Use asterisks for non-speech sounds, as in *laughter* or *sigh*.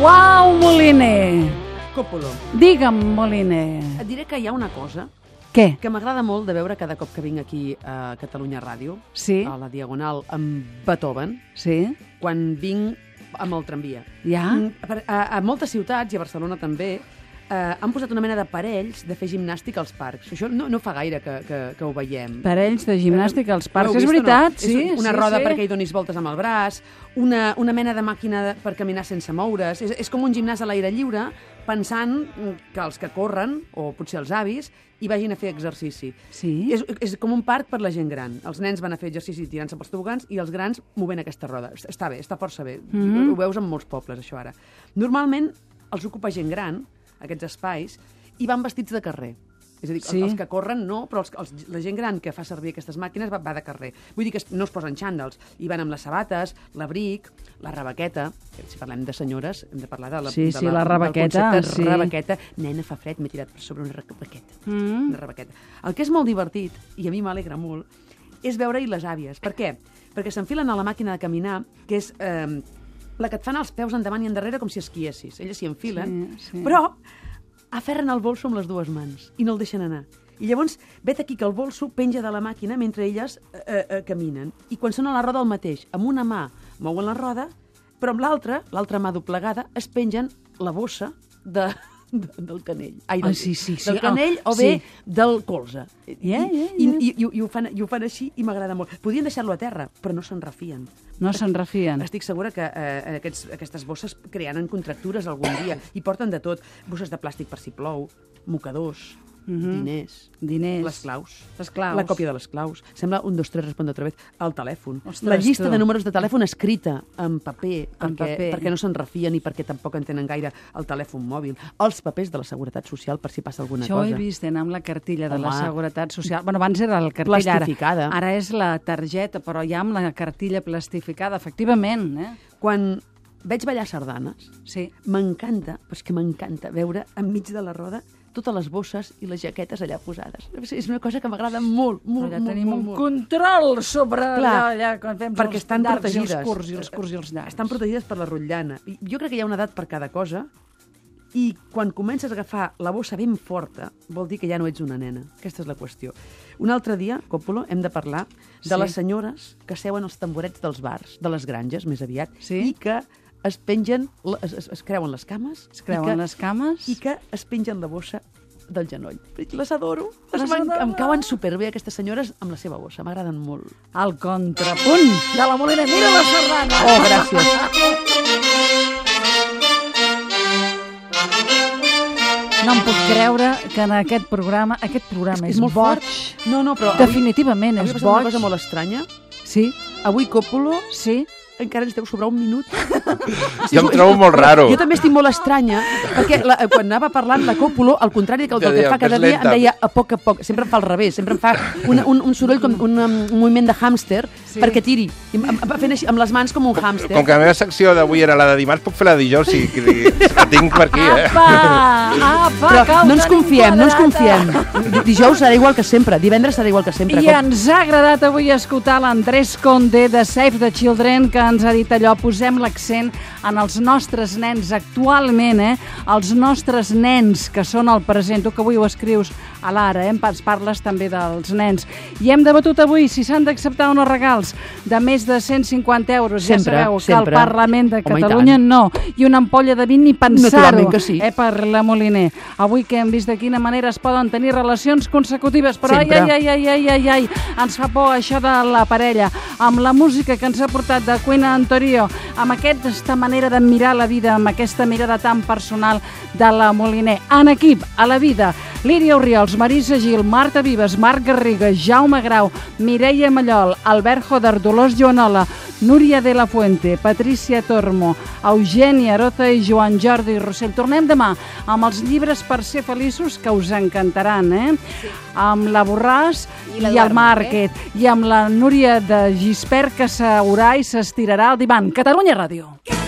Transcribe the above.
Uau, Moliner! Coppolo. Digue'm, Moliner. Et diré que hi ha una cosa Què? que m'agrada molt de veure cada cop que vinc aquí a Catalunya Ràdio, eh, Sí, a la Diagonal, amb Beethoven, sí, quan vinc amb el tramvia. ja. Mm, per- A, a moltes ciutats, i a Barcelona també, eh, han posat una mena d'aparells de fer gimnàstica als parcs. Això no, no fa gaire que, que, que ho veiem. Parells de gimnàstica als parcs. L'heu És vist o veritat, no? sí. És una sí, roda sí. perquè hi donis voltes amb el braç, una, una mena de màquina de, per caminar sense moure's. És, és com un gimnàs a l'aire lliure pensant mm, que els que corren, o potser els avis, hi vagin a fer exercici. Sí? És, és com un parc per la gent gran. Els nens van a fer exercici tirant-se pels tobogans i els grans movent aquesta roda. Est- Està bé, està força bé. Mhm. Ho veus en molts pobles, això ara. Normalment els ocupa gent gran, aquests espais, i van vestits de carrer. És a dir, Sí. sí. els que corren no, però els, els, la gent gran que fa servir aquestes màquines va, va de carrer. Vull dir que es- no es posen xandals, i van amb les sabates, l'abric, la rebaqueta, que si parlem de senyores hem de parlar de la, Sí, de sí, la la del rebaqueta, concepte sí. rebaqueta. Nena, fa fred, m'he tirat per sobre una rebaqueta Mm. una rebaqueta. El que és molt divertit, i a mi m'alegra molt, és veure-hi les àvies. Per què? Perquè s'enfilen a la màquina de caminar, que és eh, la que et fan els peus endavant i endarrere com si esquiessis. Elles s'hi enfilen, Sí, sí, sí. sí. però aferren el bolso amb les dues mans i no el deixen anar. I llavors, vet aquí que el bolso penja de la màquina mentre elles eh, eh, caminen. I quan són a la roda el mateix, amb una mà mouen la roda, però amb l'altra, l'altra mà doblegada, es pengen la bossa de, de, del canell. Ai, Ah, sí, sí, sí. del canell Ah, o bé sí. del colze. Ja, ja, I, ja. i, i, i, ho fan, I ho fan així i m'agrada molt. Podien deixar-lo a terra, però no se'n refien. No se'n refien. Estic segura que eh, aquests, aquestes bosses crearan contractures algun dia i porten de tot. Bosses de plàstic per si plou, mocadors, diners, Diners. les Mhm. claus. Les claus. La còpia de les claus. Sembla un, dos, tres, respon otra vez. El telèfon. Ostres, la llista tu. de números de telèfon escrita en paper, En perquè, paper. perquè no se'n refien i perquè tampoc entenen gaire el telèfon mòbil. Els papers de la Seguretat Social per si passa alguna Això ho he cosa. vist, anar amb la cartilla de la Home. Seguretat Social. Bueno, abans era la cartilla, ara, Plastificada. ara és la targeta, però ja amb la cartilla plastificada, efectivament. Eh? Quan veig ballar sardanes, Sí. M'encanta, però és que m'encanta veure enmig de la roda totes les bosses i les jaquetes allà posades. És una cosa que m'agrada molt, molt, Allà molt, tenim molt, un molt. control sobre allà, Clar, allà, quan fem perquè els estan llargs i protegides. els curts i els curts i els llargs. Estan protegides per la rotllana. I Jo crec que hi ha una edat per cada cosa i quan comences a agafar la bossa ben forta vol dir que ja no ets una nena. Aquesta és la qüestió. Un altre dia, Coppolo, hem de parlar de Sí. sí. les senyores que seuen als tamborets dels bars, de les granges, més aviat, Sí. i que es pengen, la- es, es, es creuen les cames, Es creuen i que, les cames. i que es pengen la bossa del genoll. Les adoro. Les Les van, adoro. em cauen superbé aquestes senyores amb la seva bossa. M'agraden molt. El contrapunt de la Molina. Mira la sardana! Oh, gràcies. No em puc creure que en aquest programa, aquest programa és, molt boig. fort. No, no, però Definitivament avui, és avui passa boig. una cosa molt estranya. Sí, Avui Coppolo sí. encara ens deu sobrar un minut. *laughs* Jo em trobo molt raro. Jo també estic molt estranya, perquè la, eh, quan anava parlant la Coppolo, al contrari que el, del Te que deia, fa cada més dia, em lenta. deia a poc a poc. Sempre em fa al revés, sempre em fa una, un, un soroll com un, um, un moviment de hàmster Sí. perquè tiri. I em, em va fent així, amb les mans com un hàmster. Com que la meva secció d'avui era la de dimarts, puc fer la de dijous si si la tinc per aquí, eh? Apa! Apa! que Però ho no ens tenim confiem, no ens confiem. quadrat. Di- Dijous serà igual que sempre, divendres serà igual que sempre. I ens ha agradat avui escoltar l'Andrés Conde de Save the Children, que ens ha dit allò, posem l'accent en els nostres nens actualment, eh? els nostres nens que són el present. Tu que avui ho escrius a l'ara, eh? ens parles també dels nens. I hem debatut avui si s'han d'acceptar o no regals de més de 150 euros. Sempre, ja sabeu que sempre. el Parlament de Home, i Catalunya tant. no. I una ampolla de vi ni pensar-ho. Naturalment que sí. Eh, per la Moliner. Avui que hem vist de quina manera es poden tenir relacions consecutives, però ai, Sempre. ai, ai, ai, ai, ai, ai, ens fa por això de la parella, amb la música que ens ha portat de Cuina Antorio, amb aquesta manera de mirar la vida, amb aquesta mirada tan personal de la Moliner. En equip, a la vida, Lídia Oriols, Marisa Gil, Marta Vives, Marc Garriga, Jaume Grau, Mireia Mallol, Albert Joder, Dolors Joanola, Núria de la Fuente, Patricia Tormo, Eugènia Arota i Joan Jordi Rossell. Tornem demà amb els llibres per ser feliços que us encantaran, eh? Sí. Amb la Borràs I i, l'Eduard i el Márquez. Eh? I amb la Núria de Gispert que s'haurà i s'estirarà al divan. Catalunya Ràdio. Catalunya Ràdio.